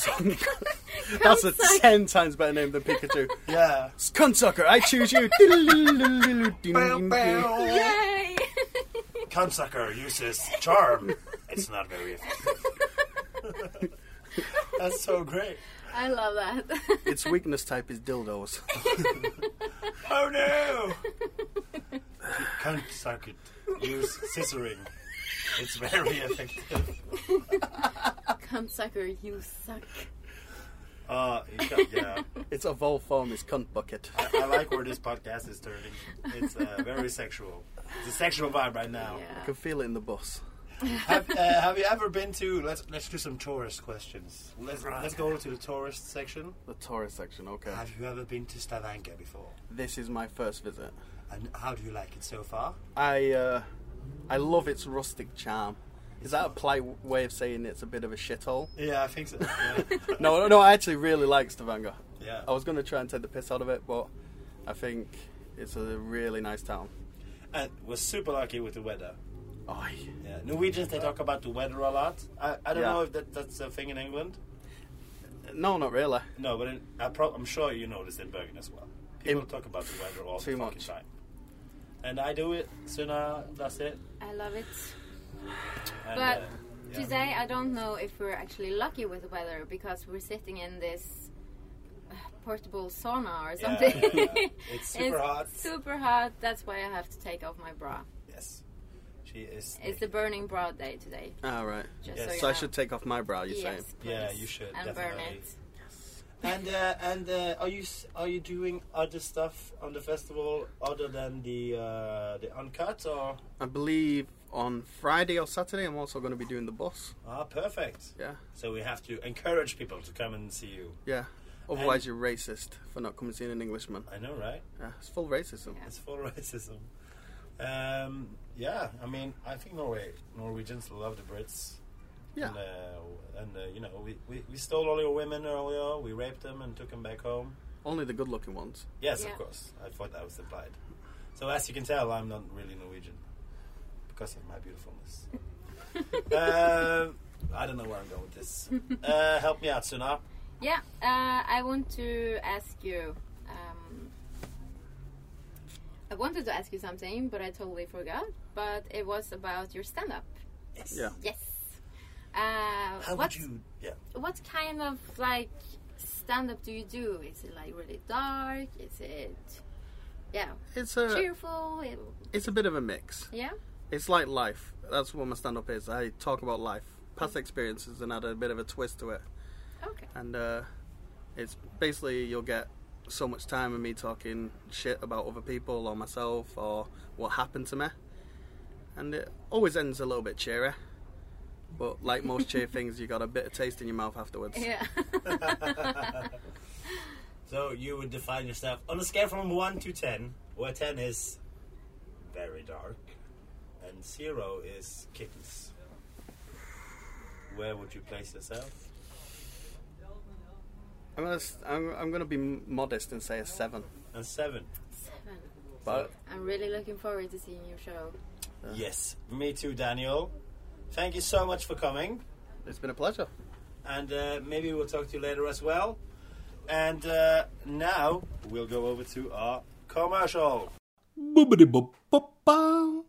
E: That's a
D: suck.
E: ten times better name than Pikachu.
C: Yeah.
E: Cunt sucker, I choose you. Diddle-diddle-diddle-diddle-diddle-diddle.
D: Yay!
C: Cunt sucker uses charm. It's not very effective. That's so great.
D: I love that.
E: its weakness type is dildos.
C: Oh no! Cunt suck it. Use scissoring. It's very effective.
D: cunt sucker, you suck.
C: Uh, you got- yeah.
E: its evolved form is cunt bucket.
C: I like where this podcast is turning. It's uh, very sexual. It's a sexual vibe right now.
E: I
D: Yeah.
E: can feel it in the bus.
C: Have, uh, have you ever been to? Let's let's do some tourist questions. Let's let's go to the tourist section.
E: The tourist section, okay.
C: Have you ever been to Stavanger before?
E: This is my first visit.
C: And how do you like it so far?
E: I uh, I love its rustic charm. Is that a polite w- way of saying it's a bit of a shithole?
C: Yeah, I think so. Yeah.
E: No, no, no, I actually really like Stavanger.
C: Yeah.
E: I was going to try and take the piss out of it, but I think it's a really nice town.
C: and we're super lucky with the weather.
E: Oh,
C: Yeah. Norwegians they talk about the weather a lot. I, I don't
E: Yeah.
C: know if that, that's a thing in England.
E: no, not really.
C: No, but in, I pro- I'm sure you noticed in Bergen as well. People
E: In-
C: talk about the weather all
E: Too
C: the fucking
E: much.
C: time. And I do it. Suna does it.
D: I love it.
C: And,
D: But
C: uh, yeah.
D: today, I don't know if we're actually lucky with the weather because we're sitting in this uh, portable sauna or
C: Yeah,
D: something.
C: yeah, yeah. It's super hot.
D: Super hot. That's why I have to take off my bra.
C: Yes. She is.
D: It's the burning bra day today.
E: All right.
D: Just
C: Yes.
D: so, you
E: So I
D: know.
E: should take off my brow, you say?
D: Yes, please.
C: Yeah, you should,
D: And burn
C: definitely.
D: it.
C: And uh, and uh, are you s- are you doing other stuff on the festival other than the uh, the uncut or
E: I believe on Friday or Saturday I'm also going to be doing the bus.
C: ah perfect?
E: Yeah.
C: So we have to encourage people to come and see you.
E: Yeah. Otherwise, you're racist for not coming seeing an Englishman.
C: I know, right?
E: Yeah, it's full racism.
D: Yeah.
C: It's full racism. Um, yeah, I mean, I think Norway Norwegians love the Brits.
E: Yeah.
C: And, uh, and uh, you know, we, we, we stole all your women earlier. We raped them and took them back home.
E: Only the good looking ones.
C: Yes,
D: Yeah.
C: of course. I thought that was implied. So as you can tell, I'm not really Norwegian because of my beautifulness. um, I don't know where I'm going with this. Uh, help me out, Suna.
D: Yeah, uh, I want to ask you. Um, I wanted to ask you something, but I totally forgot. But it was about your stand up.
C: Yes.
E: Yeah.
D: Yes. Uh,
C: How
D: what,
C: would you? Yeah.
D: what kind of like stand up do you do? Is it like really dark? Is it yeah
E: It's a
D: cheerful? It-
E: it's a bit of a mix.
D: yeah.
E: It's like life. That's what my stand up is. I talk about life, past experiences, and add a bit of a twist to it.
D: Okay.
E: And uh, it's basically you'll get so much time of me talking shit about other people or myself or what happened to me. And it always ends a little bit cheery. But like most cheer things, you got a bit of taste in your mouth afterwards.
D: Yeah.
C: So you would define yourself on a scale from one to ten, where ten is very dark, and zero is kittens. Where would you place yourself?
E: I'm gonna, s- I'm, I'm gonna be m- modest and say a seven.
C: And seven.
D: Seven.
E: But
D: I'm really looking forward to seeing your show.
C: Yes, me too, Daniel. Thank you so much for coming,
E: it's been a pleasure.
C: and uh, maybe we'll talk to you later as well. And uh, now we'll go over to our commercial.
A: Boobity boop boop bow.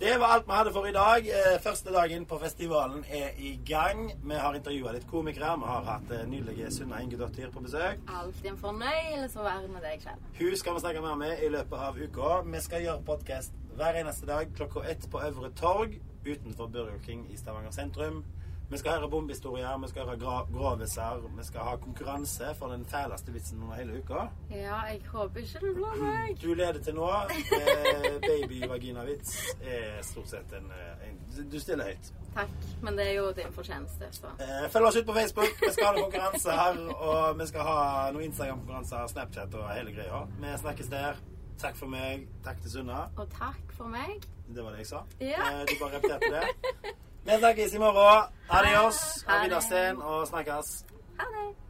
C: Det var alt vi hadde for i dag. Eh, Første dagen på festivalen er i gang. Vi har intervjua litt komikere. Vi har hatt eh, nydelige Sunna Ingedottir på besøk.
D: Alltid en fornøyelse å være med deg, Kjell.
C: Hun skal vi snakke mer med i løpet av uka. Vi skal gjøre podkast hver eneste dag klokka ett på Øvre Torg utenfor Burger King i Stavanger sentrum. Vi skal høre bombehistorier, vi skal høre gra groviser, vi skal ha konkurranse for den fæleste vitsen under hele uka.
D: Ja, jeg håper ikke det blir meg.
C: Du leder til nå. Eh, Baby-vagina-vits er stort sett en, eh, en Du stiller høyt.
D: Takk. Men det er jo din fortjeneste, så.
C: Eh, følg oss ut på Facebook. Vi skal ha noen konkurranser. Og vi skal ha noen Instagram-konkurranser, Snapchat og hele greia. Vi snakkes der. Takk for meg. Takk til Sunna.
D: Og takk for meg.
C: Det var det jeg sa.
D: Ja.
C: Eh, du bare repeterte det. Vi snakkes i morgen. Adios.
D: Ha det.
C: Avidasen og snakkes.
D: Ha det.